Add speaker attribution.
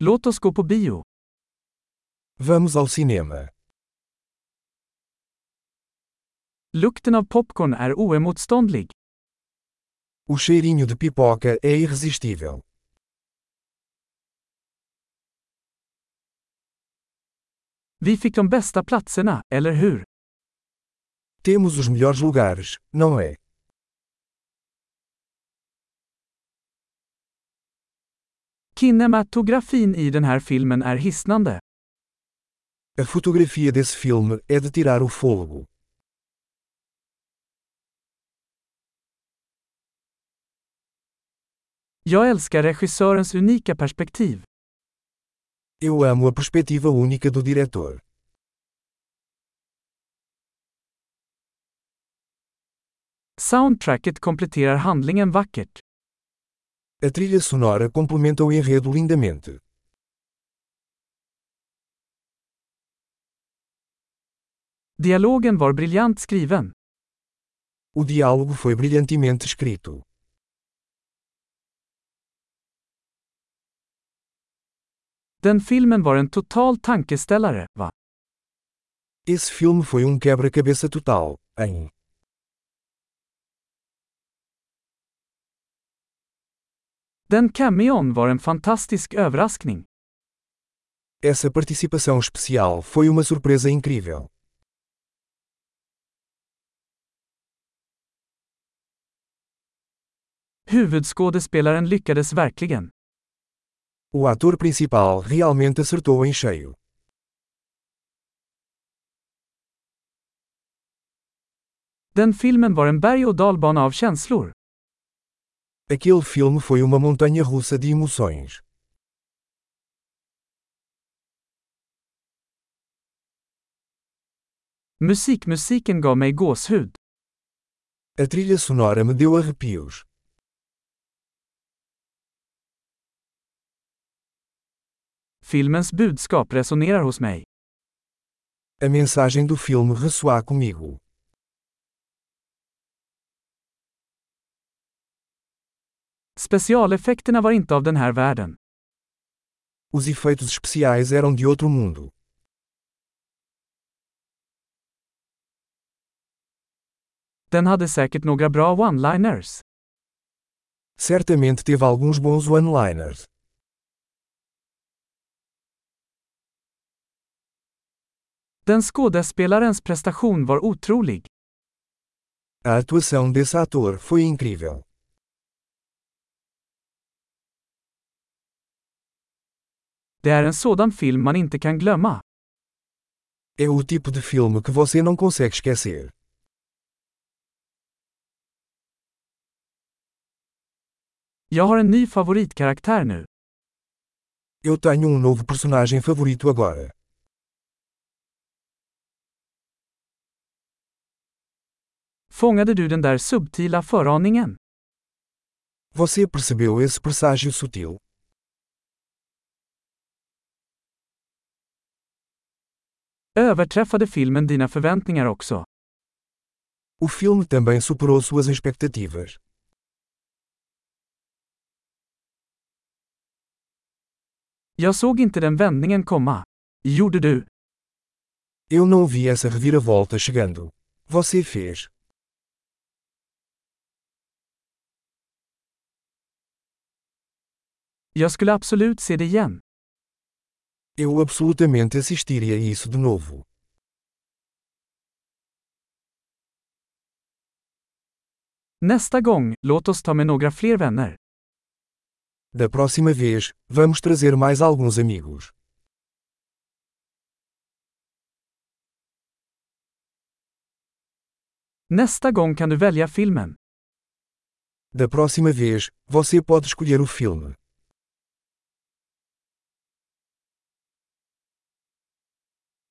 Speaker 1: Låt oss gå på bio.
Speaker 2: Vamos ao cinema.
Speaker 1: Lukten av popcorn är oemotståndlig.
Speaker 2: O cheirinho de pipoca é irresistível.
Speaker 1: Vi fick de bästa platserna, eller hur?
Speaker 2: Temos os melhores lugares, não é?
Speaker 1: Kinematografin i den här filmen är hisnande.
Speaker 2: A fotografia desse filme é de tirar o fôlego.
Speaker 1: Jag älskar regissörens unika perspektiv.
Speaker 2: Eu amo a perspectiva única do diretor.
Speaker 1: Soundtracket kompletterar handlingen vackert.
Speaker 2: A trilha sonora complementa o enredo lindamente.
Speaker 1: Dialogen var briljant skriven.
Speaker 2: O diálogo foi brilhantemente escrito.
Speaker 1: Den filmen var en total tankeställare, va?
Speaker 2: Esse filme foi um quebra-cabeça total, hein?
Speaker 1: Den cameon var en fantastisk överraskning.
Speaker 2: Essa participação especial foi uma surpresa incrível.
Speaker 1: Huvudskådespelaren lyckades verkligen.
Speaker 2: O ator principal realmente acertou em cheio.
Speaker 1: Den filmen var en berg och dalbana av känslor.
Speaker 2: Aquele filme foi uma montanha russa de emoções.
Speaker 1: Musikmusiken gav mig gåshud.
Speaker 2: A trilha sonora me deu arrepios.
Speaker 1: Filmens budskap resonerar hos mig.
Speaker 2: A mensagem do filme ressoar comigo.
Speaker 1: Specialeffekterna var inte av den här världen.
Speaker 2: Os efeitos especiais eram de outro mundo.
Speaker 1: Den hade säkert några bra one-liners.
Speaker 2: Certamente teve alguns bons one-liners.
Speaker 1: Den skådespelarens prestation var otrolig.
Speaker 2: A atuação desse ator foi incrível.
Speaker 1: Det är en sådan film man inte kan glömma.
Speaker 2: É o tipo de filme que você não consegue esquecer.
Speaker 1: Jag har en ny favoritkaraktär nu.
Speaker 2: Eu tenho um novo personagem favorito agora.
Speaker 1: Fångade du den där subtila föraningen?
Speaker 2: Você percebeu esse presságio sutil?
Speaker 1: Överträffade filmen dina förväntningar också?
Speaker 2: O filme também superou suas expectativas.
Speaker 1: Jag såg inte den vändningen komma. Gjorde du?
Speaker 2: Eu não vi essa reviravolta chegando. Você fez.
Speaker 1: Jag skulle absolut se det igen.
Speaker 2: Eu absolutamente assistiria isso de novo.
Speaker 1: Nästa gång, låt oss ta med några fler vänner.
Speaker 2: Da próxima vez, vamos trazer mais alguns amigos.
Speaker 1: Nästa gång kan du välja filmen.
Speaker 2: Da próxima vez, você pode escolher o filme.